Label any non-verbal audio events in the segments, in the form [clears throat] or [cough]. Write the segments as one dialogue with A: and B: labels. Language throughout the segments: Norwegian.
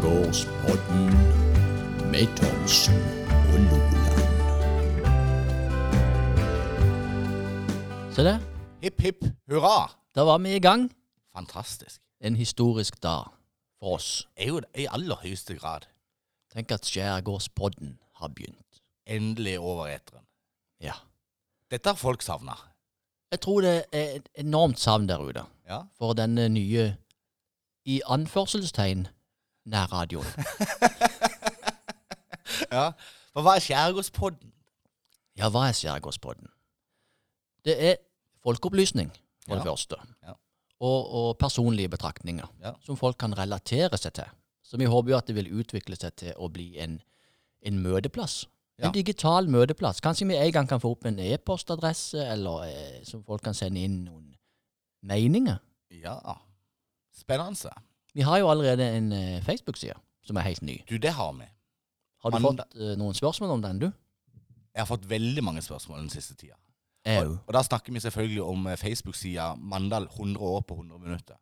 A: Alvdalspodden med Thomsen og Loland.
B: Se det.
C: Hipp, hipp, hurra!
B: Da var vi i gang.
C: Fantastisk.
B: En historisk dag for oss.
C: Er jo i aller høyeste grad
B: Tenk at Skjærgårdspodden har begynt.
C: endelig over eteren.
B: Ja.
C: Dette har folk savna.
B: Jeg tror det er et enormt savn der ute
C: Ja.
B: for denne nye, i anførselstegn, nærradioen.
C: ja. For hva er Skjærgårdspodden?
B: Ja, hva er Skjærgårdspodden? Det er folkeopplysning, for det
C: Ja.
B: første.
C: Ja.
B: Og, og personlige betraktninger
C: Ja.
B: som folk kan relatere seg til. Så vi håper jo at det vil utvikle seg til å bli en, en møteplass.
C: Ja.
B: En digital møteplass. Kanskje vi en gang kan få opp en e-postadresse, eller eh, som folk kan sende inn noen meninger.
C: Ja. Spennende.
B: Vi har jo allerede en eh, Facebook-side som er helt ny.
C: Du, det har vi.
B: Har du
C: Men-
B: fått eh, noen spørsmål om den, du?
C: Jeg har fått veldig mange spørsmål den siste tida.
B: Au.
C: Og da snakker vi selvfølgelig om eh, Facebook-sida Mandal 100 år på 100 minutter.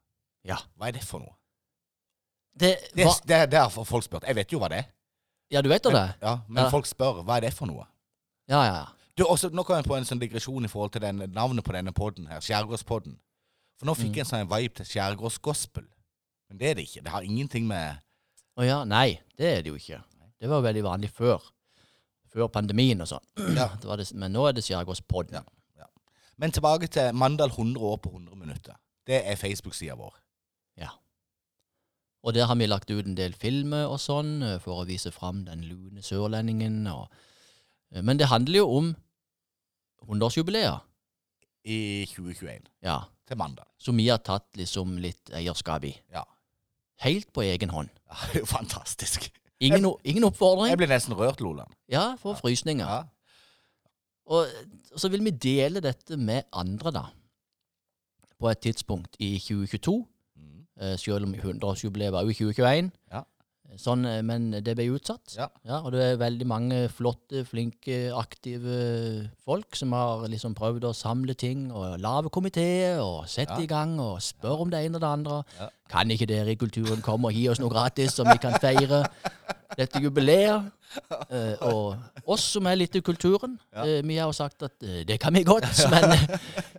B: Ja.
C: Hva er det for noe?
B: Det,
C: Det,
B: hva,
C: det, det har folk spurt. Jeg vet jo hva det er.
B: ja, du vet da det?
C: Ja, men
B: Ja.
C: folk spør hva er det for noe.
B: Ja, ja, ja.
C: Du, også, nå kom jeg på en sånn digresjon i forhold til den, navnet på denne podden her, Skjærgårdspodden. For nå fikk jeg en sånn vibe til Skjærgårdsgospel. Men det er det ikke. Det har ingenting med
B: Å ja, nei, det er det jo ikke. Det var jo veldig vanlig før. Før pandemien og sånn.
C: Ja.
B: Det var det, men nå er det Skjærgårdspodden.
C: Ja. Men tilbake til Mandal 100 år på 100 minutter. Det er Facebook-sida vår.
B: Og der har vi lagt ut en del filmer og sånn eh, for å vise fram den lune sørlendingen. Og, eh, men det handler jo om 100-årsjubileet,
C: I 2021.
B: ja,
C: Til Mandal.
B: som vi har tatt liksom litt eierskap i.
C: Ja.
B: Helt på egen hånd.
C: ja det er jo fantastisk.
B: Ingen, o- ingen
C: Jeg
B: oppfordring.
C: ble nesten rørt, Loland.
B: Ja, for frysninger.
C: Ja.
B: Og og så vil vi dele dette med andre, da. På et tidspunkt i 2022.
C: Mm.
B: Eh, selv om 100-årsjubileet var jo i 2021.
C: Ja.
B: Sånn, eh, men det ble utsatt.
C: Ja.
B: og det er veldig mange flotte, flinke, aktive folk som har liksom prøvd å samle ting og lage komiteer og sette
C: Ja.
B: i gang og spørre om det ene og det andre.
C: Ja.
B: Kan ikke dere i kulturen komme og gi oss noe gratis som vi kan feire dette jubileet? Eh, og oss som er litt i kulturen,
C: Ja.
B: eh, vi har jo sagt at eh, det kan vi godt, [laughs] men eh,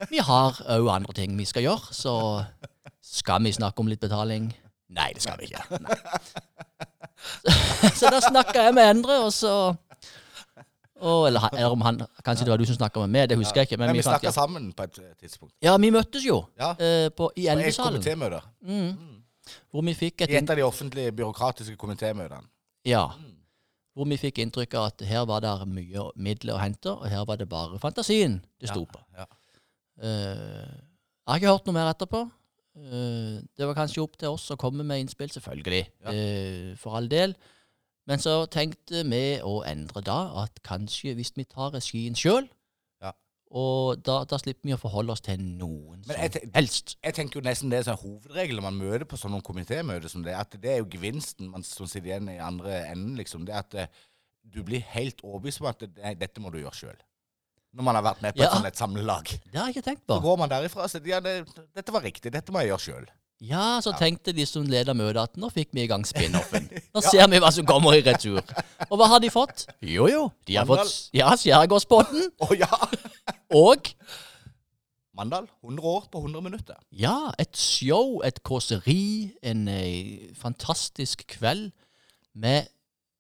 B: vi har òg andre ting vi skal gjøre, så skal vi snakke om litt betaling? Nei, det skal vi ikke. Nei. Så, så da snakka jeg med Endre, og så og, eller, han- eller om han Kanskje det var du som snakka med meg, det husker jeg ikke. Men,
C: vi
B: vi fant,
C: snakka
B: ja.
C: sammen på et eh, tidspunkt.
B: ja, vi møttes jo
C: Ja.
B: eh, på, i
C: På et
B: Elvesalen,
C: komitémøte.
B: hvor vi fikk et
C: I et av de offentlige byråkratiske komitémøtene.
B: Ja.
C: Mm.
B: Hvor vi fikk inntrykk av at her var det mye midler å hente, og her var det bare fantasien det sto på.
C: Ja.
B: Eh, jeg har ikke hørt noe mer etterpå. Eh, det var kanskje opp til oss å komme med innspill, selvfølgelig.
C: Ja.
B: eh, for all del. Men så tenkte vi å endre da, at kanskje hvis vi tar regien sjøl,
C: Ja.
B: og da, da slipper vi å forholde oss til noen
C: Men jeg
B: som
C: tenk-
B: helst.
C: Jeg tenker jo nesten det er sånn hovedregel når man møter på sånne komitémøter som det, at det er jo gevinsten man som sitter igjen i andre enden, liksom. Det er at eh, du blir helt overbevist om at det, nei, dette må du gjøre sjøl. Når man har vært med på
B: Ja.
C: et sånt et samlelag.
B: Det har jeg ikke tenkt
C: Så
B: på.
C: går man derifra og sier ja, det, dette var riktig, dette må jeg gjøre sjøl.
B: Ja, så tenkte de som leder møtet at nå fikk vi i gang [laughs] spin-offen. Nå
C: Ja.
B: ser vi hva som kommer i retur. Og hva har de fått? Jo, jo, de har
C: Mandal.
B: fått ja, Skjærgårdsbotn
C: Å ja!
B: og
C: Mandal, 100 år på 100 minutter.
B: ja, et show, et kåseri, en eh, fantastisk kveld med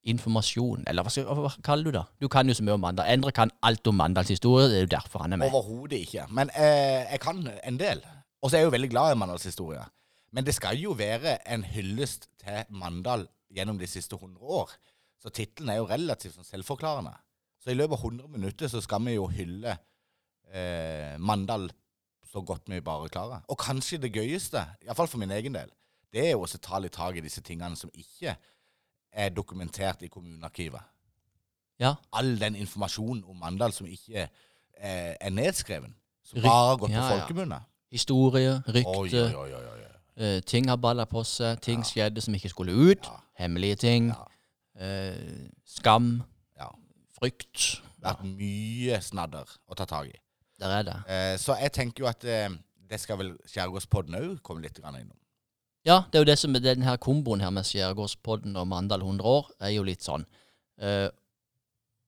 B: informasjon. Eller hva, skal, hva kaller du det? Du kan jo så mye om Mandal. Endre kan alt om Mandals historie, det er jo derfor han er med.
C: Overhodet ikke. Men eh, jeg kan en del. Og så er jeg jo veldig glad i Mandals historie. Men det skal jo være en hyllest til Mandal gjennom de siste 100 år. Så tittelen er jo relativt sånn selvforklarende. Så i løpet av 100 minutter så skal vi jo hylle eh, Mandal så godt vi bare klarer. Og kanskje det gøyeste, iallfall for min egen del, det er jo også å ta litt tak i disse tingene som ikke er dokumentert i kommunearkivet
B: Ja,
C: all den informasjonen om Mandal som ikke eh, er nedskreven. Som
B: Ryk-
C: bare har gått
B: ja,
C: på
B: ja.
C: folkemunne.
B: historie,
C: Oi,
B: rykte,
C: oi, oi, oi, oi.
B: eh, ting har balla på seg, ting skjedde som ikke skulle ut,
C: Ja.
B: hemmelige ting.
C: Ja.
B: eh, skam,
C: Ja.
B: frykt. Ja,
C: Vært mye snadder å ta tak i.
B: der er det.
C: Eh, så jeg tenker jo at eh, det skal vel Skjærgårdspodden òg komme litt grann innom.
B: Ja, det er jo det som er den her komboen her med Skjærgårdspodden og Mandal 100 år, er jo litt sånn. Eh,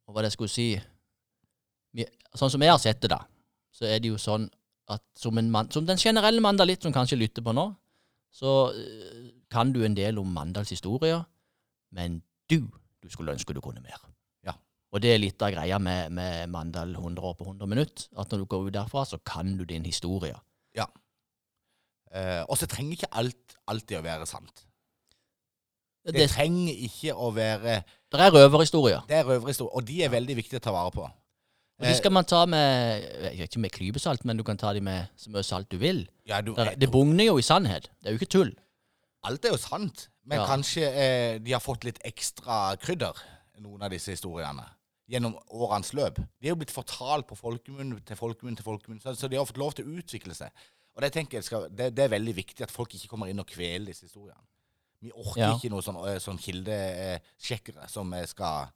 B: og hva det jeg skulle si vi, Sånn som jeg har sett det, da, så er det jo sånn at som, en mann, som den generelle mandalitt som kanskje lytter på nå, så eh, kan du en del om Mandals historier, men du, du skulle ønske du kunne mer.
C: Ja.
B: Og det er litt av greia med, med Mandal 100 år på 100 minutt, at når du går ut derfra, så kan du din historie.
C: Eh, og så trenger ikke alt alltid å være sant.
B: Det,
C: Det
B: det,
C: trenger ikke å være
B: det er røverhistorier.
C: Det er røverhistorier, og de er veldig viktige å ta vare på.
B: Og
C: Eh.
B: de skal man ta med jeg vet ikke med klypesalt, men du kan ta de med så mye salt du vil.
C: Ja, du,
B: Der, det bugner jo i sannhet. Det er jo ikke tull.
C: alt er jo sant, men
B: Ja.
C: kanskje eh, de har fått litt ekstra krydder, noen av disse historiene, gjennom årenes løp. De er jo blitt fortalt på folkemunn til folkemunn til folkemunn, så, så de har fått lov til å utvikle seg. Og det tenker jeg skal, det, det er veldig viktig at folk ikke kommer inn og kveler disse historiene. Vi orker
B: Ja.
C: ikke noen sånn, eh, sånn kildesjekkere som eh, skal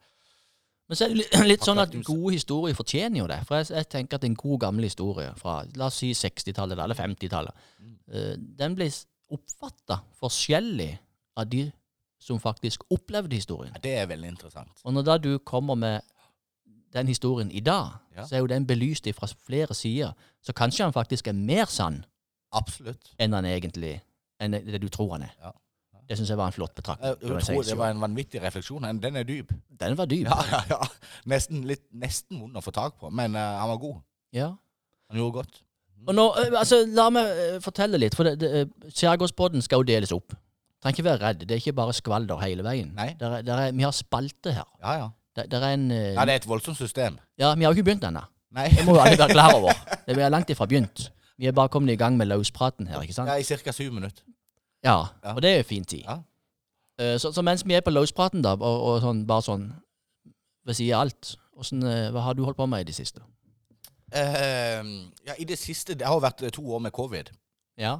B: Men så er det li- [clears throat] litt sånn at
C: Akkurat, du-
B: gode historier fortjener jo det. For jeg, jeg tenker at en god, gammel historie fra la oss si 60-tallet da, eller 50-tallet,
C: Mm.
B: eh, den blir oppfatta forskjellig av de som faktisk opplevde historien.
C: ja, Det er veldig interessant.
B: Og når da du kommer med den historien i dag,
C: Ja.
B: så er jo den belyst fra flere sider. Så kanskje han faktisk er mer sann
C: Absolutt.
B: enn han egentlig enn det du tror han er.
C: Ja.
B: Det syns jeg var en flott betraktning.
C: Jeg,
B: kan
C: jeg
B: jeg si.
C: tror det var en vanvittig refleksjon. Den- Den er dyp.
B: Den var dyp.
C: Ja,
B: Ja.
C: ja, ja. Nesten, litt, nesten vond å få tak på, men eh, han var god. Han gjorde godt.
B: Og nå, eh, altså, La meg eh, fortelle litt, for det- det, eh, Skjærgårdspodden skal jo deles opp. Trenger ikke være redd, det er ikke bare skvalder hele veien.
C: Nei.
B: Der er, der er, vi har spalte her.
C: Ja, ja.
B: Der, der er en eh,
C: Ja, det er et voldsomt system.
B: ja, Vi har jo ikke begynt ennå.
C: Nei,
B: Det [laughs] må jo alle være klar
C: [laughs]
B: over. Det er langt ifra begynt. Vi er bare kommet i gang med løspraten her, ikke sant?
C: ja, i ca. syv minutter.
B: Ja,
C: Ja.
B: og det er jo fin tid.
C: Ja.
B: Eh, Så, så mens vi er på løspraten, da, og, og sånn, bare sånn ved siden av alt, hvordan, eh, hva har du holdt på med i det siste?
C: Eh, ja, I det siste Det har jo vært to år med covid.
B: [laughs] Ja.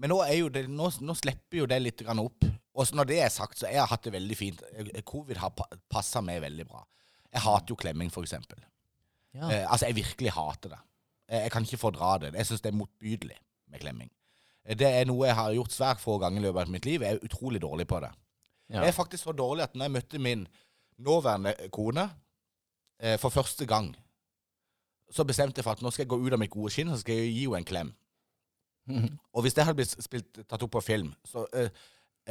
C: Men nå, er jo det, nå, nå slipper jo det litt grann opp. Og så når det er sagt, så jeg har hatt det veldig fint. Eh, Covid har passa meg veldig bra. Jeg hater jo klemming, for eksempel.
B: Ja.
C: Eh, altså, jeg virkelig hater det. Eh, jeg kan ikke fordra det. Jeg syns det er motbydelig med klemming. Eh, Det er noe jeg har gjort svært få ganger i løpet av mitt liv. Jeg er utrolig dårlig på det.
B: Ja.
C: Jeg er faktisk så dårlig at når jeg møtte min nåværende kone eh, for første gang, så bestemte jeg for at nå skal jeg gå ut av mitt gode skinn, så skal jeg gi henne en klem. Og hvis det hadde blitt spilt, tatt opp på film, så, eh,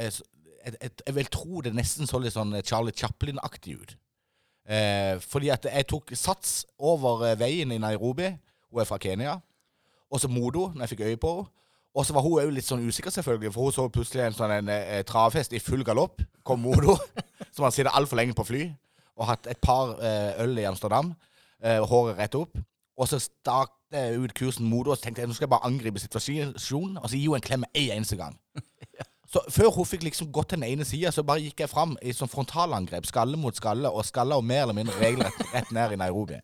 C: eh, så jeg, jeg, jeg vil tro det nesten så litt sånn Charlie Chaplin-aktig ut. Eh, fordi at jeg tok sats over eh, veien i Nairobi. Hun er fra Kenya. Og så Modo, når jeg fikk øye på henne. Og så var hun òg litt sånn usikker, selvfølgelig, for hun så plutselig en sånn en, eh, travhest i full galopp. Kom Modo, [laughs] som har sittet altfor lenge på fly, og hatt et par eh, øl i Amsterdam. Eh, håret rett opp. Og så stakk jeg ut kursen Modo, og så tenkte jeg nå skal jeg bare angripe situasjonen, og så gi henne en klem med en eneste gang. Så før hun fikk liksom gått til den ene sida, så bare gikk jeg fram i sånn frontalangrep, skalle mot skalle, og skalla henne mer eller mindre regelrett rett ned i Nairobi.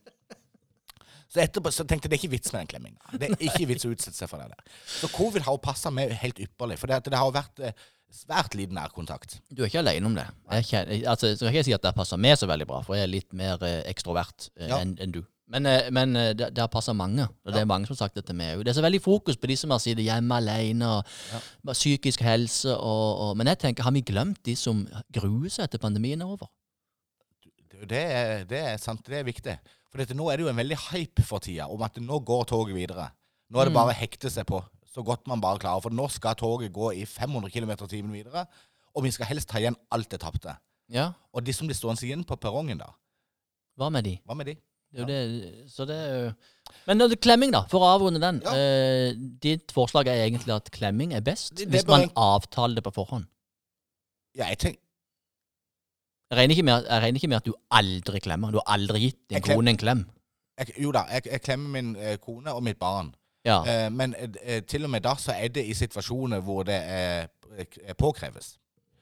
C: Så etterpå så tenkte jeg det er ikke vits med den klemminga. Det er ikke vits å utsette seg for det der. Så covid har jo passa meg helt ypperlig, for det, at det har vært eh, svært liten nærkontakt.
B: Du er ikke alene om det. Jeg kjenner, altså, så kan jeg ikke si at det passer meg så veldig bra, for jeg er litt mer eh, ekstrovert eh,
C: Ja.
B: enn enn du. Men, eh, men eh, det, det har passet mange, og det er mange som har sagt det til meg òg. Det er så veldig fokus på de som har sittet hjemme alene, og bare psykisk helse og, og Men jeg tenker, har vi glemt de som gruer seg etter pandemien er over?
C: Det er, det er sant, det er viktig. For dette, nå er det jo en veldig hype for tida om at nå går toget videre. Nå er det bare å hekte seg på så godt man bare klarer. For nå skal toget gå i 500 km i timen videre, og vi skal helst ta igjen alt det tapte.
B: Ja,
C: Og de som blir stående igjen på perrongen, da,
B: hva med de?
C: hva med de?
B: Det er jo det, så det er jo Men når det- klemming, da, for å avrunde den.
C: Ja.
B: Eh, ditt forslag er egentlig at klemming er best
C: Det- det
B: hvis
C: bør
B: man
C: egentlig-
B: avtaler det på forhånd.
C: Ja, jeg tenk,
B: Jeg regner ikke med, at- jeg regner ikke med at du aldri klemmer. Du har aldri gitt din
C: Jeg klem-
B: kone en klem.
C: jeg, jo da, jeg, jeg klemmer min eh, kone og mitt barn.
B: Ja.
C: Eh, men eh, eh, til og med da så er det i situasjoner hvor det eh, eh, påkreves.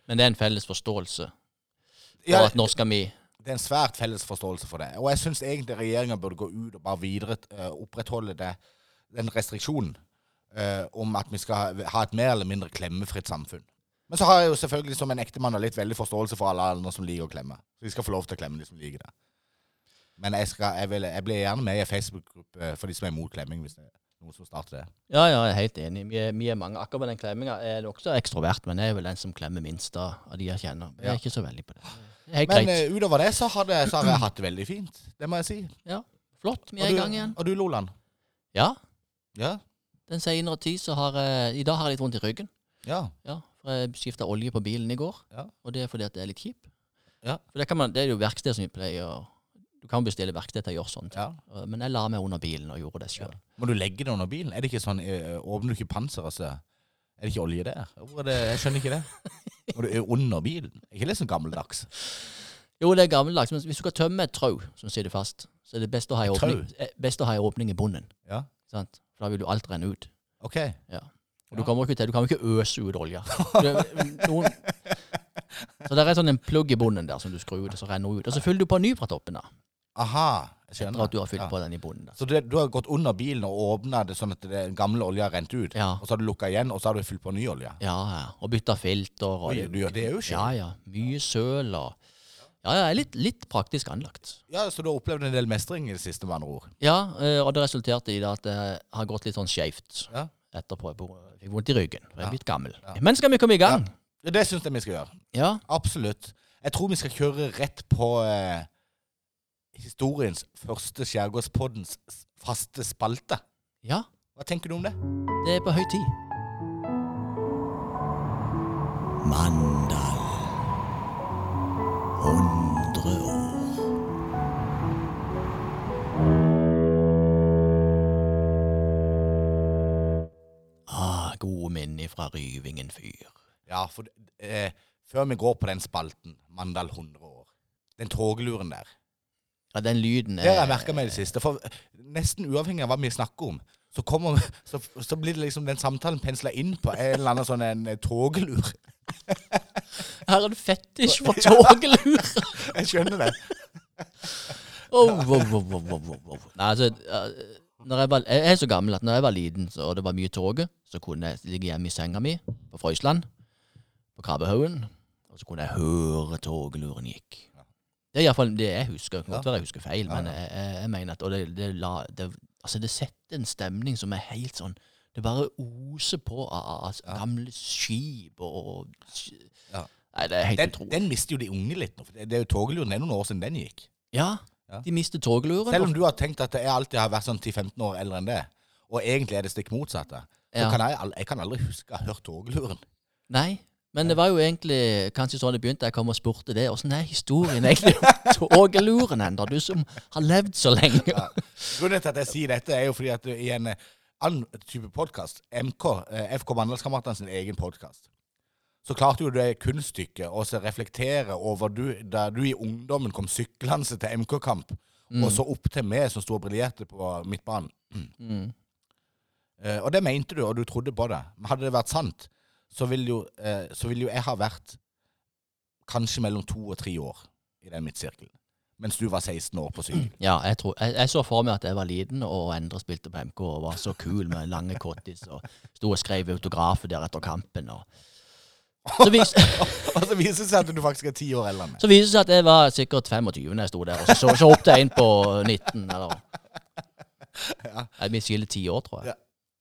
B: Men det er en felles forståelse for
C: Ja,
B: at nå skal vi
C: det er en svært felles forståelse for det. Og jeg syns egentlig regjeringa burde gå ut og bare videre eh, opprettholde det, den restriksjonen eh, om at vi skal ha et mer eller mindre klemmefritt samfunn. Men så har jeg jo selvfølgelig som en ektemann litt veldig forståelse for alle andre som liker å klemme. Så de skal få lov til å klemme de som liker eh, det. Men jeg, skal, jeg, vil, jeg blir gjerne med i en Facebook-gruppe for de som er imot klemming. Hvis det, noen som starter det.
B: Ja, ja, jeg er helt enig. Vi er, vi er mange. Akkurat med den klemminga er jeg også ekstrovert, men jeg er vel den som klemmer minst av av de jeg kjenner. Jeg
C: Ja.
B: er ikke så veldig på det. Det er Helt
C: Men
B: greit.
C: eh, utover det så har, det, så har jeg hatt det veldig fint. Det må jeg si.
B: Ja, flott. Vi
C: Og
B: er i
C: du-
B: gang igjen.
C: Og du, Loland?
B: Ja,
C: Ja.
B: den senere tid så har jeg I dag har jeg litt vondt i ryggen.
C: Ja.
B: Ja, for jeg skifta olje på bilen i går.
C: Ja.
B: Og det er fordi at det er litt kjip.
C: Ja.
B: For det, kan man, det er jo verksted som vi pleier å Du kan bestille verksted til å gjøre sånt.
C: ja.
B: Uh, Men jeg la meg under bilen og gjorde det sjøl.
C: Må du legge det under bilen? Er det ikke sånn, eh, Åpner du ikke panseret, så er det ikke olje der? Hvor er det, jeg skjønner ikke det. Må du er under bilen? Er ikke det sånn gammeldags?
B: Jo, det er gammeldags, men hvis du skal tømme et trau som sitter fast, så er det best å ha en
C: Trau?
B: åpning, eh, best å ha en åpning i bunnen.
C: Ja.
B: Sant? For da vil jo alt renne ut.
C: Ok.
B: Ja. Og
C: Ja.
B: du kommer ikke til, du kan jo ikke øse ut
C: [laughs]
B: olja. Det- Noen, så det er sånn en plugg i bunnen der som du skrur ut, og så renner hun ut. Og så fyller du på en ny fra toppen da,
C: Aha. Jeg
B: etter
C: skjønner.
B: at du har fylt
C: Ja.
B: på den i bunnen. da.
C: Så du, du har gått under bilen og åpna det sånn at den gamle olja har rent ut?
B: Ja.
C: Og så har du lukka igjen, og så har du fylt på ny olje?
B: Ja, ja. Og bytter filter. Og
C: Oi, du gjør det jo selv.
B: Ja, ja. Mye søl og Ja, ja. Jeg er litt, litt praktisk anlagt.
C: Ja, Så du har opplevd en del mestring i det siste, med andre ord?
B: Ja, eh, og det resulterte i det at det har gått litt sånn skjevt
C: Ja.
B: etterpå. Jeg bo- fikk vondt i ryggen. for Jeg er
C: Ja.
B: blitt gammel.
C: Ja.
B: Men skal vi komme i gang?
C: Ja, Det syns jeg vi skal gjøre.
B: Ja.
C: Absolutt. Jeg tror vi skal kjøre rett på eh, historiens første Skjærgårdspoddens s- faste spalte.
B: Ja.
C: Hva tenker du om det?
B: Det er på høy tid.
A: Mandal. 100 år.
B: Ah, gode minner fra Ryvingen fyr.
C: Ja, for eh, før vi går på den spalten, Mandal 100 år, den togluren der
B: Ja, den lyden
C: Det har jeg merka meg i det siste. For eh, nesten uavhengig av hva vi snakker om, så, kommer, [laughs] så, så blir det liksom den samtalen pensla inn på en eller annen sånn en toglur. [laughs]
B: Jeg har en fetisj for tågelur!
C: Jeg skjønner det.
B: oh, wow, wow, wow, wow, wow, wow. Nei, altså, eh, når jeg, var, jeg er så gammel at når jeg var liten så, og det var mye toget, så kunne jeg ligge hjemme i senga mi på Frøysland, på Krabbehaugen, og så kunne jeg høre togluren gikk. Det er iallfall det jeg husker. Det kan godt være jeg husker feil, men jeg, jeg, jeg mener at og det, det, la, det, altså, det setter en stemning som er helt sånn Det bare oser på av, av- av gamle skip og, og
C: Ja.
B: Nei, det er helt
C: Den,
B: utrolig.
C: den mister jo de unge litt nå. For det, det er jo togluren. Det er noen år siden den gikk.
B: Ja,
C: Ja.
B: de mister togluren.
C: Selv om du har tenkt at jeg alltid har vært sånn 10-15 år eldre enn det, og egentlig er det stikk motsatte, så
B: Ja.
C: kan jeg, al- jeg kan aldri huske å ha hørt togluren.
B: Nei, men det var jo egentlig kanskje sånn det begynte. Jeg kom og spurte det. Åssen er historien egentlig om tågeluren ennå, du som har levd så lenge?
C: Grunnen til at jeg sier dette, er jo fordi at du, i en eh, annen type podkast, MK, eh, FK Mandalskameratene sin egen podkast, så klarte jo det kunststykket å så reflektere over du, da du i ungdommen kom syklende til MK-kamp, og så opp til meg som sto og briljerte på midtbanen.
B: Mm.
C: Eh, og det mente du, og du trodde på det. Men hadde det vært sant, så ville jo, eh, så ville jo jeg ha vært kanskje mellom to og tre år i den midtsirkelen. Mens du var 16 år på sykkel.
B: Ja, jeg, tror, jeg, jeg så for meg at jeg var liten og Endre spilte på MK og var så kul med lange cottis og sto og skrev autografer der etter kampen. Og. Så, vis,
C: [laughs] og så viser det seg at du faktisk er ti år eldre enn meg.
B: så viser det seg at jeg var sikkert 25 når jeg sto der, og så, så, så opp til en på 19. Eller. Jeg min skille ti år, tror
C: Ja.
B: jeg.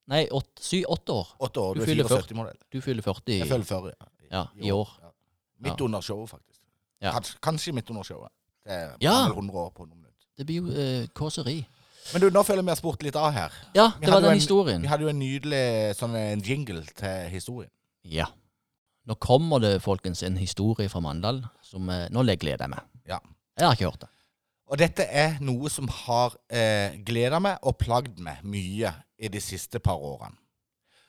B: Nei, åtte, sy, åtte år.
C: Åtte år,
B: Du
C: du er
B: fyller
C: 74-modell.
B: Du fyller 40
C: Jeg
B: i,
C: følger førre.
B: ja, i år.
C: Ja. Midt
B: Ja.
C: under showet, faktisk.
B: Ja.
C: Kanskje, kanskje midt under showet. Det er
B: Ja.
C: 100 år på noen minutter.
B: Det blir jo eh, kåseri.
C: Men du, nå føler jeg vi har spurt litt av her.
B: Ja,
C: Vi
B: det var
C: hadde jo
B: den
C: en-
B: historien.
C: Vi hadde jo en nydelig sånn en jingle til historien.
B: Ja. Nå kommer det, folkens, en historie fra Mandal som eh, Nå legger jeg gleder jeg meg.
C: Ja.
B: Jeg har ikke hørt det.
C: Og dette er noe som har eh, gleda meg og plagd meg mye i de siste par årene.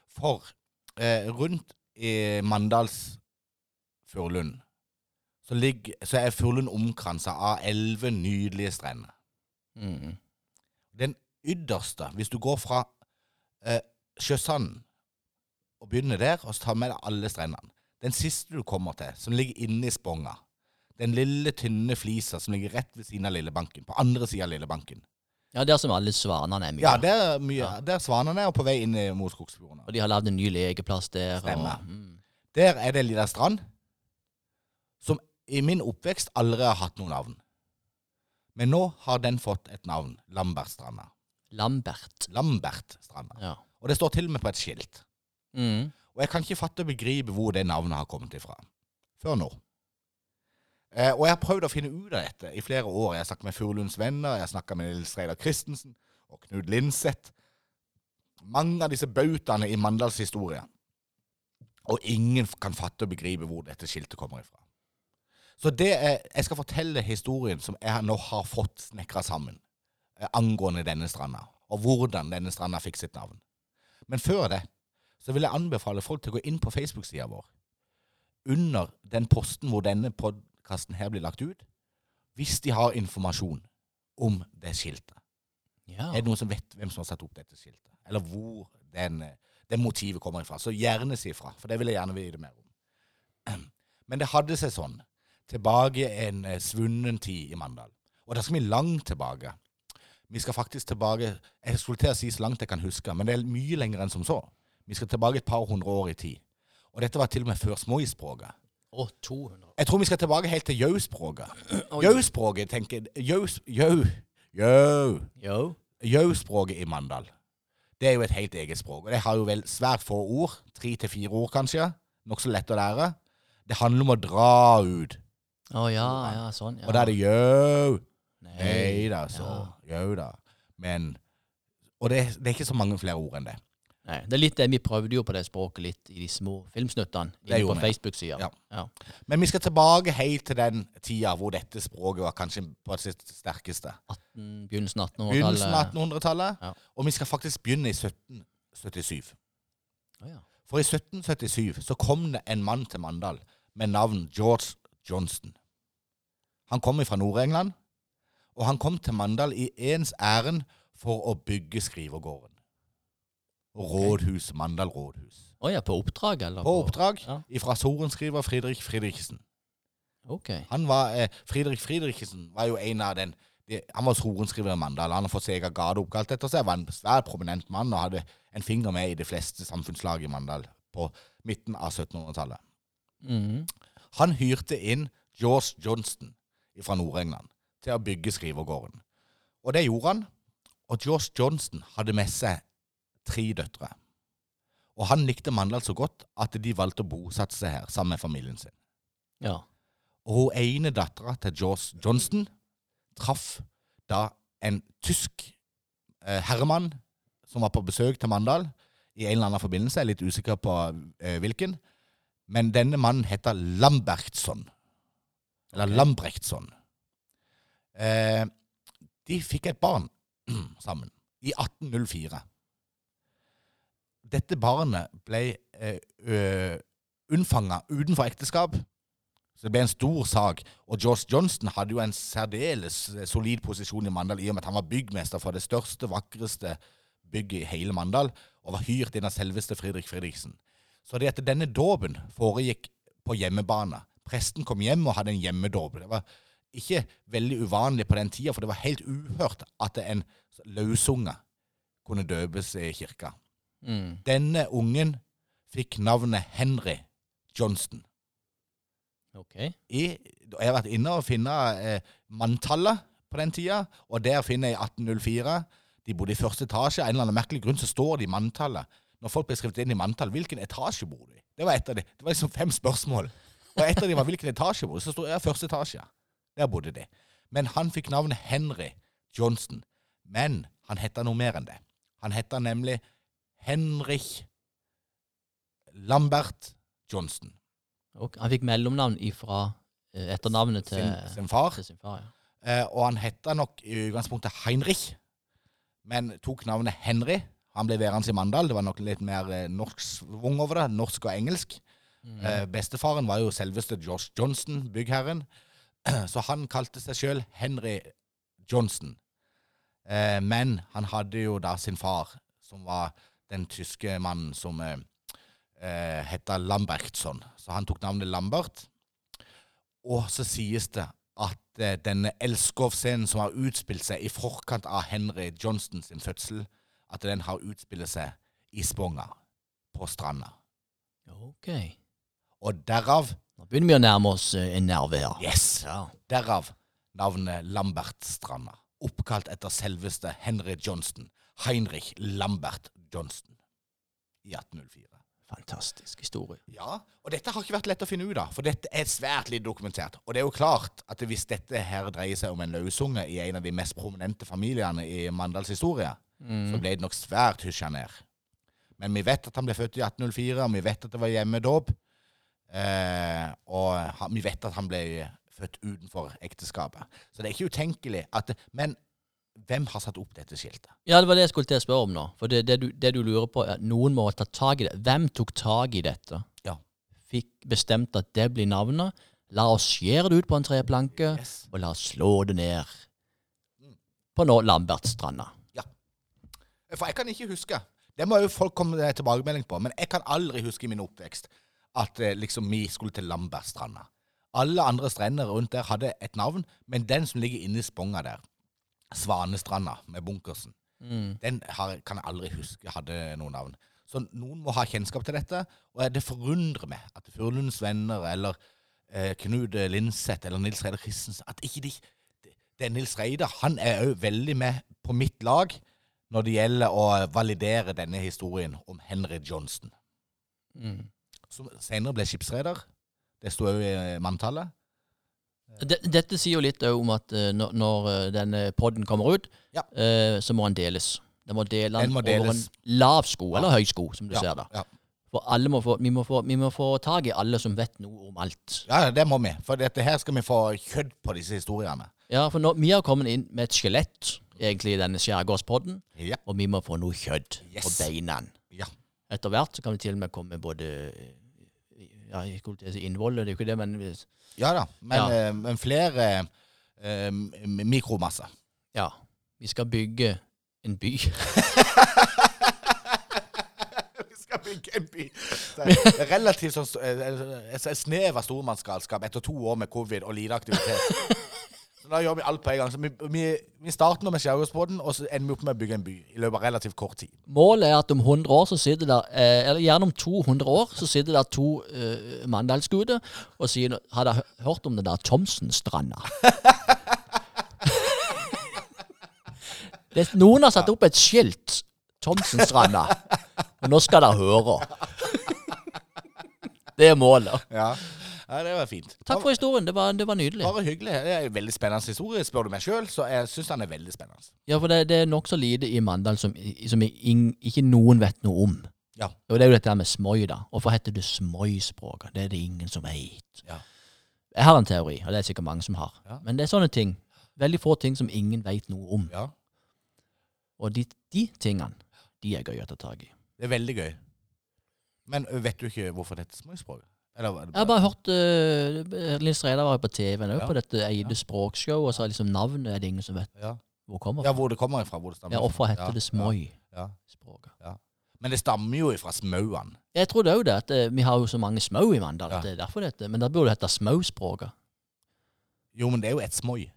C: For eh, rundt i Mandals Furulund så, ligger- så er Furulund omkransa av elleve nydelige strender.
B: Mm.
C: Den ytterste, hvis du går fra eh, Sjøsanden og begynner der, og så tar med deg alle strendene Den siste du kommer til, som ligger inne i Sponga, den lille, tynne flisa som ligger rett ved siden av Lillebanken, på andre sida av Lillebanken
B: Ja, der som alle svanene er mye.
C: Ja, der, er mye,
B: Ja.
C: der svanene er, og på vei inn i- mot skogsfjordene.
B: Og de har lagd en ny legeplass der.
C: Stemmer.
B: Og, mm.
C: Der er det en liten strand som i min oppvekst aldri har hatt noe navn. Men nå har den fått et navn, Lambertstranda.
B: Lambert.
C: Lambert Stranda.
B: Ja.
C: Og det står til og med på et skilt.
B: Mm.
C: Og jeg kan ikke fatte og begripe hvor det navnet har kommet ifra. Før nå. Eh, og jeg har prøvd å finne ut av dette i flere år. Jeg har snakket med Furulunds venner, jeg har snakket med Nils Reidar Christensen og Knut Lindseth. Mange av disse bautaene i Mandals historie. Og ingen kan fatte og begripe hvor dette skiltet kommer ifra. Så det er, jeg skal fortelle historien som jeg nå har fått snekra sammen eh, angående denne stranda, og hvordan denne stranda fikk sitt navn. Men før det så vil jeg anbefale folk til å gå inn på Facebook-sida vår. Under den posten hvor denne podkasten her blir lagt ut. Hvis de har informasjon om det skiltet.
B: Ja.
C: Er det noen som vet hvem som har satt opp dette skiltet? Eller hvor den, eh, det motivet kommer ifra? Så gjerne si ifra, for det vil jeg gjerne vite mer om. [clears throat] Men det hadde seg sånn tilbake en eh, svunnen tid i Mandal. Og da skal vi langt tilbake. Vi skal faktisk tilbake Jeg skulle til å si så langt jeg kan huske, men det er mye lenger enn som så. Vi skal tilbake et par hundre år i tid. Og dette var til og med før småispråket.
B: Og 200.
C: Jeg tror vi skal tilbake helt til jauspråket.
B: Oi.
C: Jauspråket, tenker Jaus... Jau. Jau.
B: Jo.
C: Jau-språket i Mandal, det er jo et helt eget språk. Og det har jo vel svært få ord. Tre til fire ord, kanskje. Nokså lett å lære. Det handler om å dra ut.
B: Å ja, ja, sånn. Ja.
C: Og da er det jau.
B: Nei.
C: Nei da, så. Jau da. Men Og det, det er ikke så mange flere ord enn det.
B: Nei, det er litt det vi prøvde jo på det språket litt i de små filmsnuttene
C: Det
B: inne på
C: gjorde vi.
B: Facebook-sida.
C: Ja.
B: Ja.
C: Men vi skal tilbake helt til den tida hvor dette språket var kanskje på sitt sterkeste.
B: 18, Mm, begynnelsen av
C: Begynnelsen av
B: 1800-tallet.
C: 1800-tallet.
B: Ja.
C: Og vi skal faktisk begynne i 1777.
B: Å ja.
C: For i 1777 så kom det en mann til Mandal med navn George Johnston. Han kom fra Nord-England, og han kom til Mandal i ens ærend for å bygge skrivegården. Rådhus, Mandal rådhus.
B: Å ja, på oppdrag, eller?
C: På oppdrag
B: Ja.
C: fra sorenskriver Fridrik Fridriksen.
B: Ok.
C: Han var, eh, Fridrik Fridriksen var jo en av den de, Han var sorenskriver i Mandal. Han har fått sin egen gate oppkalt etter seg. Han var en svært prominent mann og hadde en finger med i de fleste samfunnslag i Mandal på midten av 1700-tallet.
B: Mhm.
C: Han hyrte inn George Johnston fra Nord-England til å bygge skrivergården. Og det gjorde han. Og George Johnston hadde med seg tre døtre. Og han likte Mandal så godt at de valgte å bosette seg her sammen med familien sin.
B: Ja.
C: Og hun ene dattera til George Johnston traff da en tysk eh, herremann som var på besøk til Mandal i en eller annen forbindelse. Jeg er litt usikker på eh, hvilken. Men denne mannen heter Lambertson. Eller Lambrechtsson. Eh, de fikk et barn [clears throat] sammen i 1804. Dette barnet ble eh, unnfanga utenfor ekteskap. Så det ble en stor sak. Og Josh Johnston hadde jo en særdeles eh, solid posisjon i Mandal, i og med at han var byggmester for det største, vakreste bygget i hele Mandal, og var hyrt inn av selveste Fredrik Fredriksen. Så det at denne dåpen foregikk på hjemmebane Presten kom hjem og hadde en hjemmedåp. Det var ikke veldig uvanlig på den tida, for det var helt uhørt at en løsunge kunne døpes i kirka.
B: Mm.
C: Denne ungen fikk navnet Henry Johnston
B: Ok.
C: i, jeg har vært inne og finnet eh, manntallet på den tida, og der finner jeg 1804. De bodde i første etasje. Av en eller annen merkelig grunn så står det i manntallet. Når folk ble skrevet inn i manntall, hvilken etasje bor de i? Det var et av de. Det var liksom fem spørsmål. Og et av de var hvilken etasje bor de i? Så sto jeg første etasje. Der bodde de. Men han fikk navnet Henry Johnston. Men han hette noe mer enn det. Han hette nemlig Henrik Lambert Johnston.
B: Ok, Han fikk mellomnavn ifra eh, etternavnet til
C: Sin, sin far.
B: til sin far. ja.
C: Eh, og han hette nok i utgangspunktet Heinrich, men tok navnet Henry. Han ble værende i Mandal. Det var nok litt mer eh, norsk svung over det. Norsk og engelsk.
B: Mm.
C: Eh, bestefaren var jo selveste Josh Johnson, byggherren. [clears throat] Så han kalte seg sjøl Henry Johnson. Eh, men han hadde jo da sin far, som var den tyske mannen som eh, eh, heta Lambertson. Så han tok navnet Lambert. Og så sies det at eh, denne Elskov-scenen som har utspilt seg i forkant av Henry Johnston sin fødsel, at den har utspilt seg i Sponga, på stranda.
B: Ok.
C: Og derav,
B: Nå begynner vi å nærme oss eh, en nerve her.
C: yes,
B: Ja.
C: derav navnet Lambertstranda. oppkalt etter selveste Henry Johnston, Heinrich Lambert Johnston, i 1804.
B: Fantastisk historie.
C: Ja, og dette har ikke vært lett å finne ut av, for dette er svært litt dokumentert. Og det er jo klart at hvis dette her dreier seg om en løsunge i en av de mest prominente familiene i Mandals historie,
B: Mm.
C: så ble det nok svært hysja ned. Men vi vet at han ble født i 1804, og vi vet at det var hjemmedåp. Eh, og han, vi vet at han ble født utenfor ekteskapet. Så det er ikke utenkelig at Men hvem har satt opp dette skiltet?
B: Ja, det var det jeg skulle til å spørre om nå. For det, det, du, det du lurer på, er at noen må ta tak i det. Hvem tok tak i dette?
C: Ja.
B: Fikk bestemt at det blir navnet. La oss skjære det ut på en treplanke,
C: Yes. Mm.
B: og la oss slå det ned på nå Lambertstranda.
C: For jeg kan ikke huske. Det må jo folk komme med tilbakemelding på. Men jeg kan aldri huske i min oppvekst at eh, liksom vi skulle til Lambertstranda. Alle andre strender rundt der hadde et navn, men den som ligger inne i Sponga der, Svanestranda med Bunkersen, den har, kan jeg aldri huske hadde noe navn. Så noen må ha kjennskap til dette, og det forundrer meg at Furulunds venner eller eh, Knut Lindseth eller Nils Reidar Christensen At ikke de det er Nils Reidar han er òg veldig med på mitt lag når det gjelder å validere denne historien om Henry Johnston,
B: Mm.
C: som senere ble skipsreder. Det sto òg i eh, manntallet.
B: De- Dette sier jo litt eh, om at eh, når, når eh, denne podden kommer ut,
C: Ja.
B: eh, så må den deles. Den må dele
C: Den
B: den
C: må
B: over en
C: deles.
B: lav sko, eller høy sko, som du
C: Ja,
B: ser da.
C: ja.
B: For alle må få, vi, må få, vi må få tak i alle som vet noe om alt.
C: Ja, ja, det må vi. For dette her skal vi få kjødd på disse historiene.
B: Ja, for nå, vi har kommet inn med et skjelett, egentlig, i denne skjærgårdspodden,
C: Ja.
B: og vi må få noe kjødd på
C: Yes.
B: beina.
C: ja.
B: Etter hvert så kan vi til og med komme med både eh, ja, jeg skulle til å si innvollet, det er jo ikke det, men vi-
C: Ja da. Men,
B: Ja.
C: eh, men flere eh, m- mikromasser.
B: ja, vi skal bygge en by.
C: Vi skal bygge en by. Det er Relativt sånn eh, eh, snev av stormannsgalskap etter to år med covid og lite aktivitet. Så Da gjør vi alt på en gang. Så vi, vi, vi starter nå med skjærgårdsbåten, og så ender vi opp med å bygge en by i løpet av relativt kort tid.
B: Målet er at om 100 år så sitter der, eh, eller gjerne om 200 år, så sitter der to eh, mandalsguder og sier Har dere hø- hørt om det der Thomsenstranda? [laughs] det, noen har satt opp et skilt. Thomsenstranda. Og nå skal dere høre. det er målet.
C: Ja, ja det var fint.
B: Takk for historien. Det var, det var nydelig.
C: Bare hyggelig. Det er en veldig spennende historie, spør du meg sjøl, så jeg syns den er veldig spennende.
B: Ja, for det, det er nokså lite i Mandal som, som ing, ikke noen vet noe om.
C: Ja.
B: Og det er jo dette her med smøy, da. Hvorfor heter det smøyspråket? Det er det ingen som vet.
C: Ja.
B: Jeg har en teori, og det er sikkert mange som har.
C: Ja.
B: Men det er sånne ting. Veldig få ting som ingen vet noe om.
C: ja.
B: Og de, de tingene, de er gøy å ta tak i.
C: Det er veldig gøy. Men ø, vet du ikke hvorfor det heter småspråk? Eller var det
B: Jeg har bare hørt uh, Nils Reidar var jo på TV nå
C: Ja.
B: på dette Eide språkshow, og så er liksom navnet er det ingen som vet
C: ja.
B: hvor det kommer fra.
C: ja, hvor det kommer ifra. Hvor det stammer
B: Ja, hvorfor heter
C: Ja,
B: det
C: ja, ja.
B: smøy-språket?
C: Men det stammer jo ifra smauan.
B: Jeg trodde òg det. at eh, Vi har jo så mange smau i Mandal.
C: Ja.
B: at Det er derfor det heter Men da burde det hete smauspråket.
C: Jo, men det er jo et smøy.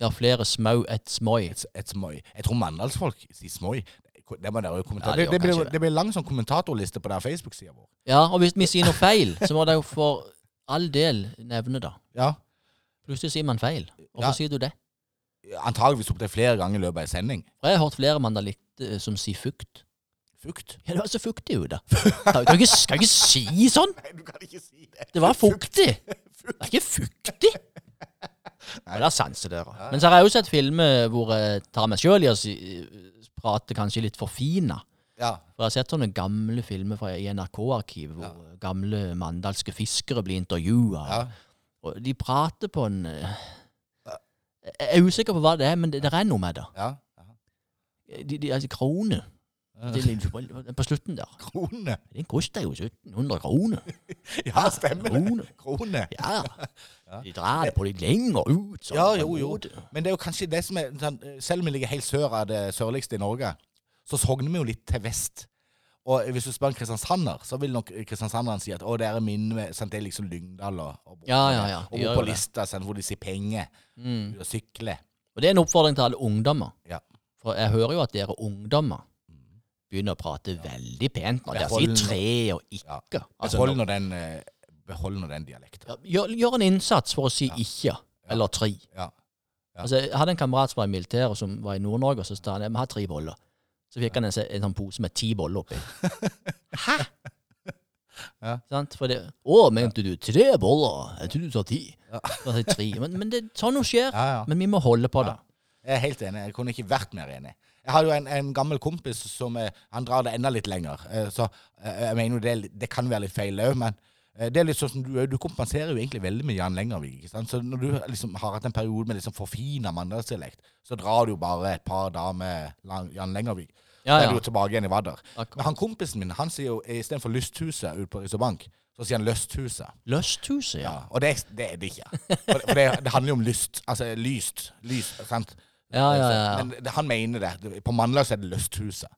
B: Ja, flere smau, et smøy.
C: Et, et smøy. Jeg tror mandalsfolk sier smøy. Det må dere jo kommentere.
B: Ja, de
C: det,
B: gjør
C: det, blir,
B: kanskje det.
C: det blir lang sånn kommentatorliste på den Facebook-sida vår.
B: Ja, og hvis vi sier noe feil, så må det jo for all del nevne det.
C: Ja.
B: Plutselig sier man feil. Hvorfor
C: Ja.
B: sier du det?
C: Antageligvis opptil flere ganger i løpet av en sending.
B: For jeg har hørt flere mandalitter eh, som sier fukt.
C: Fukt?
B: Ja, det var så fuktig
C: [laughs]
B: ute. Kan kan ikke, kan ikke si sånn!
C: Nei, du kan ikke si det.
B: Det var fuktig! Det er ikke fuktig! Ja, det er sanser dere. Men så har jeg også sett filmer hvor jeg tar meg sjøl i å si, eh, prate kanskje litt forfina.
C: Ja.
B: For jeg har sett sånne gamle filmer fra i NRK-arkivet hvor eh, gamle mandalske fiskere blir intervjua.
C: ja.
B: Og de prater på en eh, Jeg er usikker på hva det er, men det, det er noe med det.
C: ja.
B: De, de, altså, kroner. Det er litt- På slutten der.
C: Krone.
B: Den koster jo 1700 kroner.
C: Ja, stemmer det.
B: Krone.
C: Krone.
B: Ja. De drar det på litt lenger ut. sånn,
C: Ja,
B: på en
C: jo, jo.
B: måte.
C: Men det er jo kanskje det som er sånn, Selv om vi ligger helt sør av det sørligste i Norge, så sogner vi jo litt til vest. Og hvis du spør en kristiansander, så vil nok kristiansanderen si at å, det er min med, sant, det er liksom Lyngdal og, og,
B: Ja, ja, ja.
C: og
B: De gjør jo
C: bor på
B: det.
C: lista, sant, hvor de sier penger,
B: Mm.
C: og sykler.
B: Og det er en oppfordring til alle ungdommer.
C: Ja.
B: For jeg hører jo at dere ungdommer begynner å prate veldig pent når dere
C: Behold
B: sier
C: nå.
B: tre og ikke.
C: Ja.
B: Altså,
C: Behold nå den, eh, behold nå den dialekten.
B: Ja, Gjør, gjør en innsats for å si ikke eller tre.
C: Ja.
B: Altså, jeg hadde en kamerat som var i militæret, som var i Nord-Norge, og så sa han jeg må ha tre boller. Så fikk han en, se- en sånn pose med ti boller
C: [laughs]
B: oppi. Hæ?
C: Ja.
B: Sant? For det, å, mente du tre boller? Jeg trodde du sa ti. Så sa jeg tre. Men, men det, sånn noe skjer.
C: Ja, ja.
B: Men vi må holde på det.
C: Jeg er helt enig. Jeg kunne ikke vært mer enig. Jeg har jo en, en gammel kompis som eh, han drar det enda litt lenger. Eh, så eh, jeg mener jo det, er litt- det kan være litt feil òg, men eh, det er litt sånn som du, er. du kompenserer jo egentlig veldig med Jan Lengervik. ikke sant? Så når du liksom har hatt en periode med liksom forfina mandagsdialekt, så drar du jo bare et par dager med Lan- Jan Lengervik.
B: Ja,
C: Da
B: ja.
C: er du jo tilbake igjen i Vardø.
B: Akkurat.
C: Men han kompisen min han sier jo istedenfor Lysthuset ute på Risobank, så sier han Lysthuset.
B: Lysthuset, ja.
C: Ja, og det, det er det ikke. For, for det, det handler jo om lyst. Altså lyst. Lyst, sant?
B: Ja, ja, ja, ja.
C: Men det, han mener det. På mandag så er det lysthuset.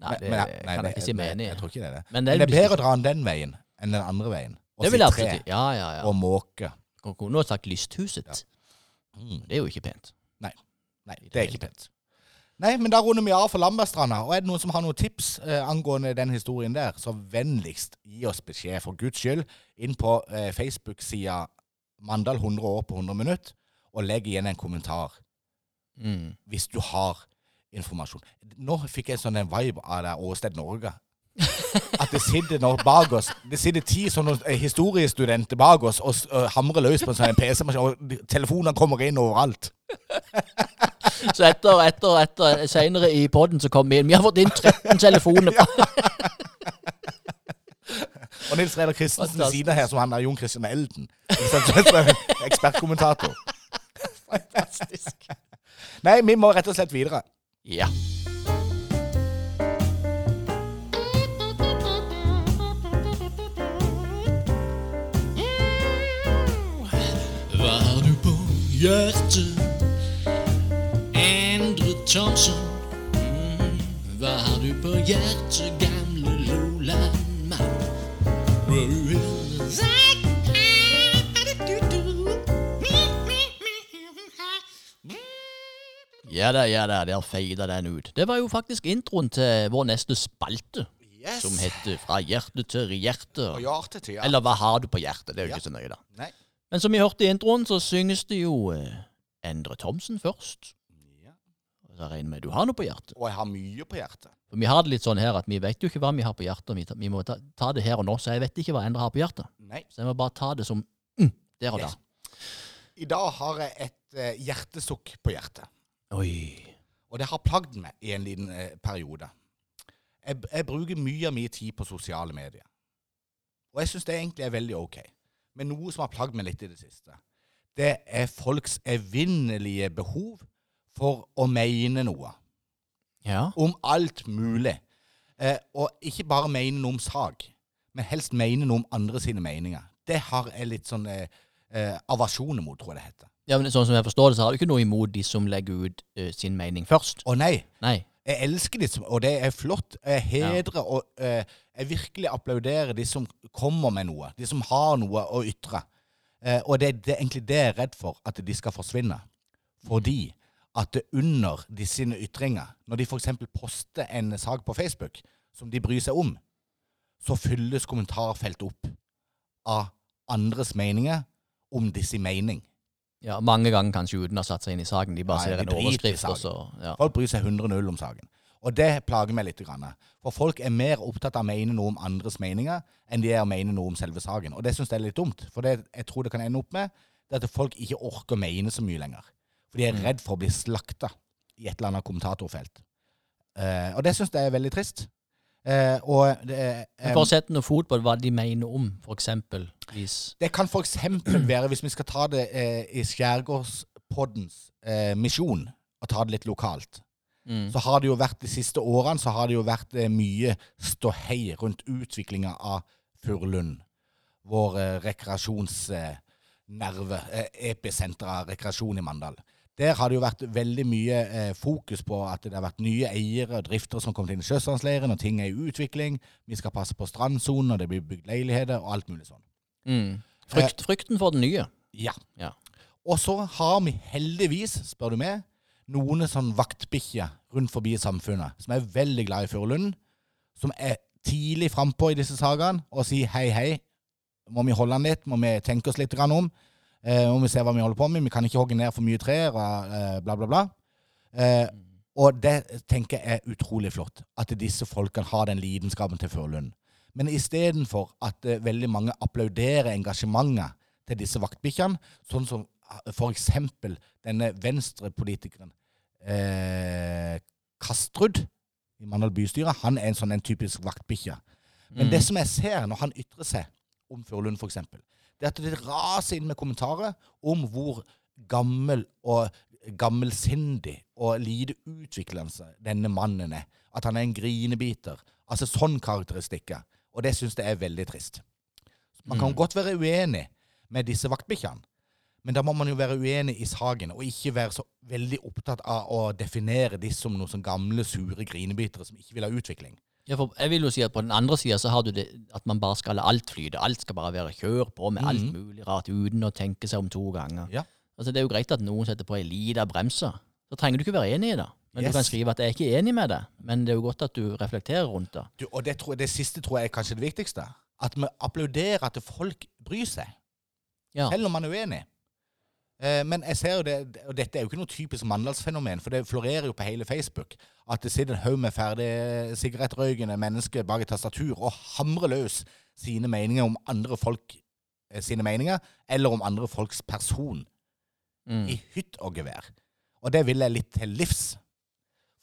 B: Nei, det
C: Men- men- nei,
B: kan jeg ikke si meg
C: nei,
B: enig
C: Jeg
B: i.
C: tror ikke det er det.
B: Men
C: Men
B: det er
C: det er,
B: lyst-
C: bedre å dra den den veien enn den andre veien. Og
B: Det
C: si
B: vil jeg
C: tre
B: absolutt si. Ja, ja, ja.
C: og måke.
B: Kunne- Kunne ha sagt Lysthuset.
C: Mm.
B: Det er jo ikke pent.
C: Nei, det er ikke pent. Nei, men da runder vi av for Lambertstranda. Og er det noen som har noen tips eh, angående den historien der, så vennligst gi oss beskjed, for guds skyld, inn på eh, Facebook-sida Mandal 100 år på 100 minutt, og legg igjen en kommentar.
B: Mm.
C: hvis du har informasjon. Nå fikk jeg sånn en vibe av det Åsted Norge. At det sitter nå bak oss Det sitter ti sånne eh, historiestudenter bak oss og s- og hamrer løs på en sånn PC-maskin, og de- telefonene kommer inn overalt.
B: Så etter, etter, etter Senere i podden så kom vi inn. Vi har fått inn 13
C: [laughs]
B: telefoner.
C: Og Nils Reidar Christensen ved
B: Fantastisk.
C: siden av her, som han er Jon Christian Elden. Så- så- så- Ekspertkommentator.
B: Fantastisk.
C: Nei, vi må rett og slett videre.
B: Ja.
A: Hva har du på hjertet? Endre Thomsen. Mm, Hva har du på hjertet, gamle Lolandmann? Hva du vil?
B: Ja da, ja da, der feida den ut. Det var jo faktisk introen til vår neste spalte, som heter Fra hjerte til hjerte. Eller Hva har du på hjertet? Det er jo ikke så nøye, da.
C: Nei.
B: Men som vi hørte i introen, så synges det jo eh, Endre Thomsen først.
C: Ja.
B: Og Så regner jeg med du har noe på hjertet.
C: Og jeg har mye på hjertet.
B: For vi har det litt sånn her at vi vet jo ikke hva vi har på hjertet, og vi, ta, vi må ta, ta det her og nå, så jeg vet ikke hva Endre har på hjertet.
C: Nei.
B: Så jeg må bare ta det som mm, der og da.
C: Yes. I dag har jeg et eh, hjertesukk på hjertet.
B: Oi.
C: Og det har plagd meg i en liten eh, periode. Jeg, jeg bruker mye av min tid på sosiale medier. Og jeg syns det egentlig er veldig ok. Men noe som har plagd meg litt i det siste, det er folks evinnelige behov for å mene noe.
B: Ja.
C: Om alt mulig. Eh, og ikke bare mene noe om sak, men helst mene noe om andre sine meninger. Det har jeg litt sånn eh, eh, aversjoner mot, tror jeg det heter.
B: ja, men sånn som jeg forstår det, så har du ikke noe imot de som legger ut eh, sin mening først.
C: Å nei,
B: Nei.
C: Jeg elsker de som Og det er flott. Jeg hedrer og eh, jeg virkelig applauderer de som kommer med noe. De som har noe å ytre. Eh, og det, det er egentlig det jeg er redd for, at de skal forsvinne. Fordi at det under de sine ytringer, når de f.eks. poster en sak på Facebook som de bryr seg om, så fylles kommentarfeltet opp av andres meninger om disse mening.
B: Ja, Mange ganger kanskje uten å ha satt seg inn i saken. De bare
C: Nei,
B: ser
C: de
B: en
C: driter i
B: overskrift, og
C: saken.
B: så ja.
C: Folk bryr seg 100-0 om saken. Og det plager meg litt. Grann. For folk er mer opptatt av å mene noe om andres meninger enn de er å mene noe om selve saken. Og det syns jeg er litt dumt. For det jeg tror det kan ende opp med, det er at folk ikke orker å mene så mye lenger. For de
B: Mm.
C: er redd for å bli slakta i et eller annet kommentatorfelt. Eh, og det syns jeg er veldig trist. Eh, og det,
B: Men
C: eh,
B: For å sette noe fot på hva de mener om, for eksempel hvis-
C: det kan f.eks. være, hvis vi skal ta det eh, i Skjærgårdspoddens eh, misjon, og ta det litt lokalt
B: mm.
C: så har det jo vært de siste årene så har det jo vært eh, mye ståhei rundt utviklinga av Furulund. Vår eh, rekreasjonsnerve, eh, nerve, eh, episenter av rekreasjon i Mandal. Der har det jo vært veldig mye eh, fokus på at det har vært nye eiere og driftere som har kommet inn i sjøstrandsleiren, og ting er i utvikling. Vi skal passe på strandsonen, og det blir bygd leiligheter og alt mulig sånn.
B: Mm.
C: Eh,
B: Frykt, frykten for det nye.
C: Ja.
B: Ja.
C: Og så har vi heldigvis, spør du meg, noen sånn vaktbikkjer rundt forbi samfunnet som er veldig glad i Furulund, som er tidlig frampå i disse sakene og sier hei, hei, må vi holde han litt, må vi tenke oss litt grann om. Eh, og vi ser hva vi holder på med. Vi kan ikke hogge ned for mye trær og eh, bla, bla, bla. Eh, og det tenker jeg er utrolig flott. At disse folkene har den lidenskapen til Førlund. Men istedenfor at eh, veldig mange applauderer engasjementet til disse vaktbikkjene, sånn som eh, for eksempel denne venstrepolitikeren eh, Kastrud i Mandal bystyre, han er en sånn en typisk vaktbikkje. Men
B: Mm.
C: det som jeg ser når han ytrer seg om Furlund f.eks., det er at det raser inn med kommentarer om hvor gammel og gammelsindig og lite utviklende denne mannen er. At han er en grinebiter. Altså sånn karakteristikker. Og det syns jeg er veldig trist. Man kan godt være uenig med disse vaktbikkjene, men da må man jo være uenig i saken, og ikke være så veldig opptatt av å definere disse som noen sånn gamle, sure grinebitere som ikke vil ha utvikling.
B: Ja, for jeg vil jo si at på den andre sida så har du det at man bare skal la alt flyte. Alt skal bare være kjør på med alt mulig rart uten å tenke seg om to ganger.
C: Mm. Ja.
B: Altså Det er jo greit at noen setter på ei lita bremse. Så trenger du ikke være enig i det. Men
C: Yes.
B: du kan skrive at 'jeg er ikke enig med det', men det er jo godt at du reflekterer rundt det.
C: Du, og det, tror, jeg- det siste tror jeg er kanskje det viktigste. At vi applauderer at folk bryr seg,
B: Ja.
C: selv om man er uenig. Eh, men jeg ser jo det, og dette er jo ikke noe typisk mandalsfenomen, for det florerer jo på hele Facebook. At det sitter en haug med ferdig sigarettrøykende mennesker bak et tastatur og hamrer løs sine meninger om andre folk eh, sine meninger, eller om andre folks person.
B: Mm.
C: i hytt og gevær. Og det vil jeg litt til livs.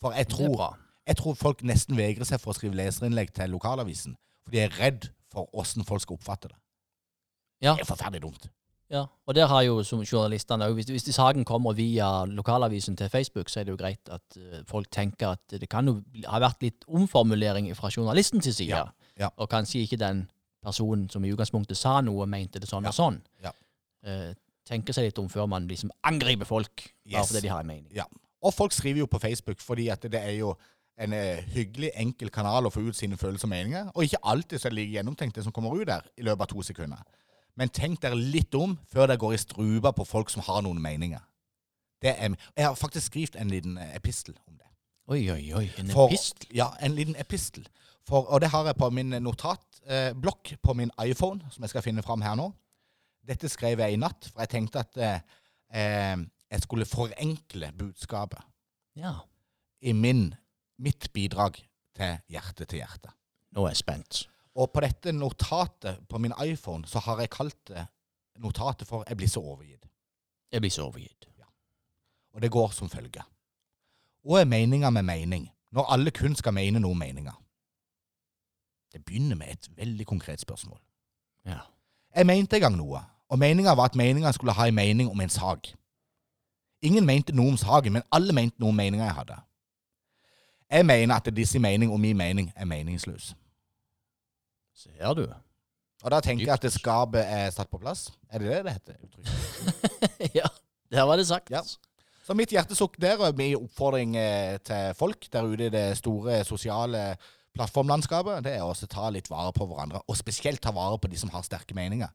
C: For jeg
B: Det er
C: tror,
B: bra.
C: jeg tror folk nesten vegrer seg for å skrive leserinnlegg til lokalavisen. For de er redd for åssen folk skal oppfatte det.
B: Ja.
C: Det er forferdelig dumt.
B: Ja, og der har jo som journalistene også, hvis, hvis de saken kommer via lokalavisen til Facebook, så er det jo greit at eh, folk tenker at det kan jo bli- ha vært litt omformulering fra journalisten til side.
C: Ja, ja.
B: Og kanskje ikke den personen som i utgangspunktet sa noe, mente det sånn og sånn.
C: ja.
B: Eh, tenker seg litt om før man liksom angriper folk bare
C: Yes.
B: fordi de har en mening.
C: Ja. Og folk skriver jo på Facebook fordi at det er jo en eh, hyggelig, enkel kanal å få ut sine følelser og meninger. Og ikke alltid så er det like gjennomtenkt det som kommer ut der i løpet av to sekunder. Men tenk dere litt om før dere går i strupa på folk som har noen meninger. Det er, jeg har faktisk skrevet en liten eh, epistel om det.
B: Oi, oi, oi, en
C: For-
B: epistel.
C: Ja, en liten epistel. For, og det har jeg på min notatblokk eh, blokk på min iPhone, som jeg skal finne fram her nå. Dette skrev jeg i natt, for jeg tenkte at eh, eh, jeg skulle forenkle budskapet
B: Ja,
C: i min, mitt bidrag til hjerte til hjerte.
B: nå er jeg spent.
C: Og på dette notatet på min iPhone så har jeg kalt det notatet for 'Jeg blir så overgitt'.
B: Jeg blir så overgitt.
C: Og det går som følger. Hva er meninga med mening, når alle kun skal mene noe om meninga? Det begynner med et veldig konkret spørsmål.
B: Ja.
C: Jeg mente en gang noe, og meninga var at meninga skulle ha en mening om en sak. Ingen mente noe om saken, men alle mente noe om meninga jeg hadde. Jeg mener at disse mening og min mening er meningsløs.
B: Ser du?
C: Og da tenker jeg at det skapet er satt på plass. Er det det det heter? uttrykket?
B: [laughs] ja, der var det sagt.
C: Ja. Så mitt hjertesukk der og min oppfordring eh, til folk der ute i det store sosiale plattformlandskapet, det er å også ta litt vare på hverandre, og spesielt ta vare på de som har sterke meninger.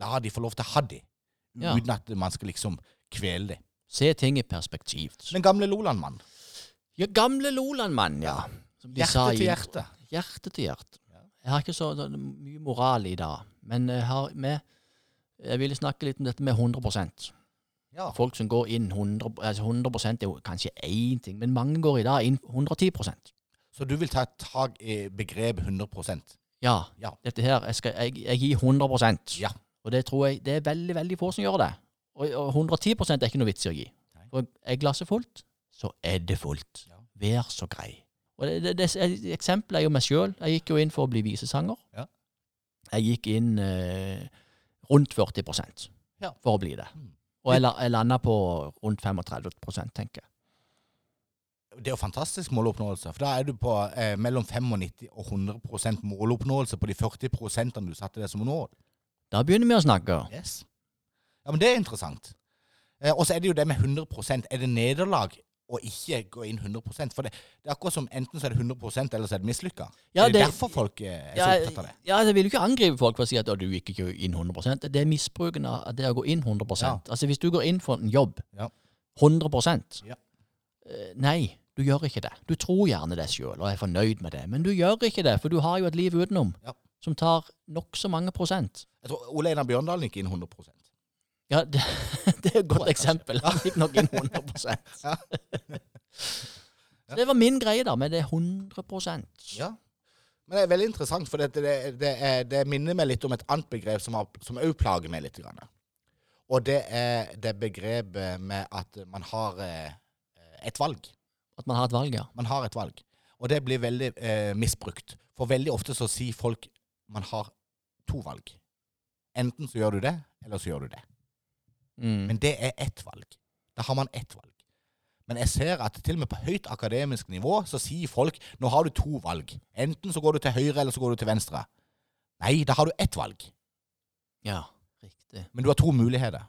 C: La de få lov til å ha de,
B: Ja.
C: uten at man skal liksom kvele de.
B: Se ting i perspektiv.
C: Den gamle Loland-mannen.
B: Ja, gamle Loland-mann, ja. Som de sa
C: Hjerte
B: i
C: til
B: intro-
C: hjerte.
B: Hjerte til hjerte. Jeg har ikke så så mye moral i dag, men jeg har med jeg ville snakke litt om dette med 100
C: Ja.
B: Folk som går inn 100, altså 100 er jo kanskje én ting, men mange går i dag inn 110
C: Så du vil ta tak i begrepet 100
B: Ja.
C: Ja.
B: Dette her, jeg, skal, jeg, jeg gir 100
C: Ja.
B: Og det tror jeg det er veldig veldig få som gjør det. Og, og 110 er ikke noe vits i å gi.
C: Nei.
B: For er glasset fullt, så er det fullt.
C: Ja.
B: Vær så grei. Og det, det, det er- Eksempelet er jo meg sjøl. Jeg gikk jo inn for å bli visesanger.
C: Ja.
B: Jeg gikk inn eh, rundt 40
C: Ja.
B: for å bli det.
C: Mm.
B: Og jeg, la- jeg landa på rundt 35 tenker jeg.
C: Det er jo fantastisk måloppnåelse, for da er du på eh, mellom 95 og 100 måloppnåelse på de 40 prosentene du satte deg som mål.
B: Da begynner vi å snakke.
C: Yes. Ja, men det er interessant. Eh, og så er det jo det med 100 Er det nederlag å ikke gå inn 100 For det, det er akkurat som enten så er det 100 eller så er det mislykka.
B: Ja,
C: er det,
B: det-
C: derfor folk eh, er så
B: Ja,
C: opptatt av det?
B: ja, jeg vil jo ikke angripe folk for å si at «Å, du gikk ikke inn 100 Det er misbruken av av det å gå inn 100 Altså Hvis du går inn for en jobb
C: Ja.
B: 100
C: Ja.
B: eh, Nei, du gjør ikke det. Du tror gjerne det sjøl og er fornøyd med det, men du gjør ikke det, for du har jo et liv utenom
C: Ja.
B: som tar nokså mange prosent.
C: Jeg tror Ole Einar Bjørndalen gikk inn 100
B: Ja, det, [laughs] det er et godt eksempel. Han fikk nok inn 100
C: [laughs]
B: Så det var min greie, da, med det 100
C: Ja. Men det er veldig interessant, for det, det, det, er, det minner meg litt om et annet begrep som har- som òg plager meg litt. Grann. Og det er det begrepet med at man har eh, et valg.
B: At man har et valg, ja.
C: Man har et valg. Og det blir veldig eh, misbrukt. For veldig ofte så sier folk man har to valg. Enten så gjør du det, eller så gjør du det.
B: Mm.
C: Men det er ett valg. Da har man ett valg. Men jeg ser at til og med på høyt akademisk nivå så sier folk nå har du to valg. Enten så går du til høyre, eller så går du til venstre. Nei, da har du ett valg.
B: Ja, riktig.
C: Men du har to muligheter.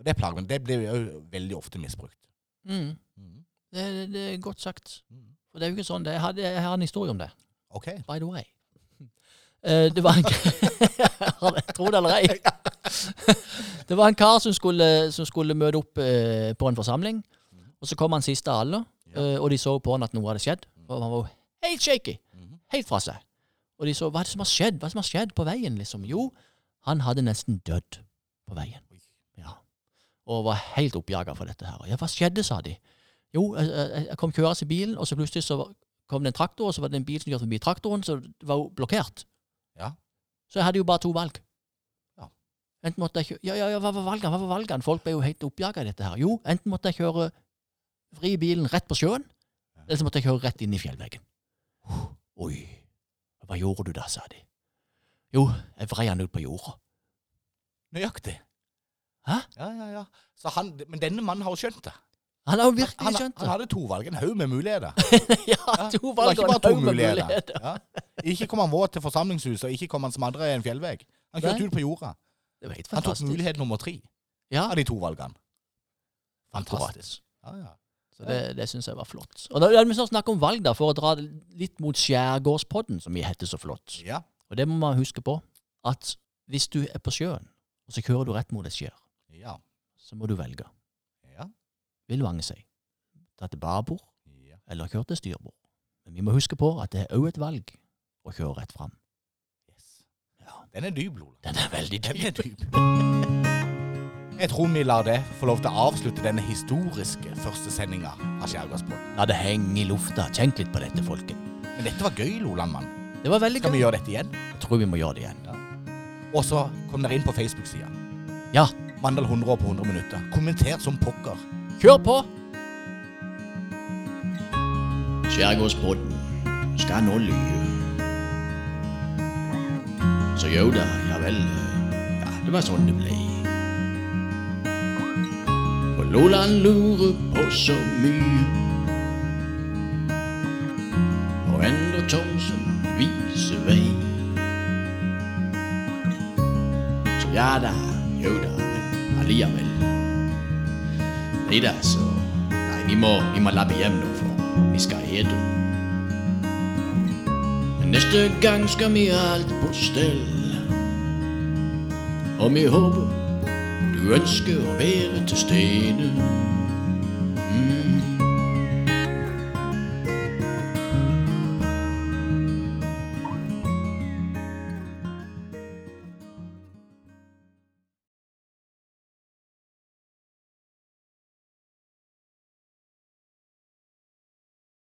C: Og det plager meg. Det blir jo veldig ofte misbrukt.
B: Mm.
C: Mhm.
B: Det, det, det er godt sagt.
C: Mhm.
B: For det er jo ikke sånn. Det, jeg, hadde, jeg har en historie om det,
C: OK.
B: by the way. Eh, det var en [laughs] Tro det eller ei. [laughs] Det var en kar som skulle, som skulle møte opp eh, på en forsamling. Og så kom han siste av alle,
C: Ja. Mm.
B: eh, og de så på han at noe hadde skjedd. Og han var jo helt shaky.
C: Mhm.
B: Helt fra seg. Og de så Hva er det som har skjedd? Hva er det som har skjedd på veien? liksom? Jo, han hadde nesten dødd på veien.
C: Oi.
B: Ja. Og var helt oppjaga for dette her. Ja, hva skjedde, sa de. Jo, jeg, jeg- jeg kom kjørende i bilen, og så plutselig så var- kom det en traktor, og så var det en bil som kjørte forbi traktoren, så det var jo blokkert.
C: Ja.
B: Så jeg hadde jo bare to valg.
C: Ja.
B: Enten måtte jeg kjøre Ja, ja, ja, hva var valgene? Hva var valgene? Folk ble jo helt oppjaga i dette her. Jo, enten måtte jeg kjøre vri bilen rett på sjøen, eller så måtte jeg kjøre rett inn i fjellveggen. Oi, hva gjorde du da, sa de. Jo, jeg vrei han ut på jorda.
C: Nøyaktig.
B: Hæ?
C: Ja, ja, ja. Så han, men denne mannen har jo skjønt det.
B: Han har jo
C: Han,
B: virkelig skjønt
C: han
B: det.
C: hadde to valg. En haug med muligheter.
B: [laughs] Ja,
C: Det
B: to
C: var
B: valg
C: ikke
B: og
C: bare
B: en
C: to
B: haug med
C: muligheter.
B: muligheter.
C: Ja. Ikke kom han våt til forsamlingshuset, og ikke kom han smadra i en fjellvegg. Han kjørte
B: Nei.
C: ut på jorda.
B: Det var helt
C: Han tok
B: fantastisk.
C: mulighet nummer tre
B: Ja,
C: av de to valgene.
B: akkurat.
C: Fantastisk. Ja, ja.
B: Så det, det syns jeg var flott. Og da er vi snart snakke om valg, da, for å dra det litt mot Skjærgårdspodden, som vi heter så flott.
C: ja.
B: Og det må man huske på, at hvis du er på sjøen, og så kjører du rett mot et skjær,
C: Ja.
B: så må du velge.
C: Ja.
B: Vil vange seg. Ta til babord,
C: ja.
B: eller kjøre til styrbord. Men vi må huske på at det er òg et valg å kjøre rett fram.
C: Yes.
B: Ja.
C: Den er dyp, Lola.
B: Den er veldig
C: Den
B: dyp.
C: er
B: [laughs]
C: dyp. Jeg tror vi lar det få lov til å avslutte denne historiske første sendinga av Skjærgårdspodden.
B: La det henge i lufta. Tenk litt på dette, folket.
C: Men dette var gøy, Loland, mann.
B: Det var veldig
C: Skal
B: gøy.
C: vi gjøre dette igjen?
B: Jeg tror vi må gjøre det igjen.
C: Og så kom dere inn på Facebook-sida.
B: Ja,
C: Mandal 100 år på 100 minutter. Kommentert som pokker.
B: kjør på!
A: Skjærgårdspodden skal nå lyve. Så jo da, ja vel. Ja, det var sånn det ble. For Loland lurer på så mye. Og Endre Thomsen viser vei. Så ja da, jo da, men alliavel. Nei da, så Nei, vi må, vi må labbe hjem nå, for vi skal hete. Men neste gang skal vi ha alt på stell. Og vi håper du ønsker å være til stede.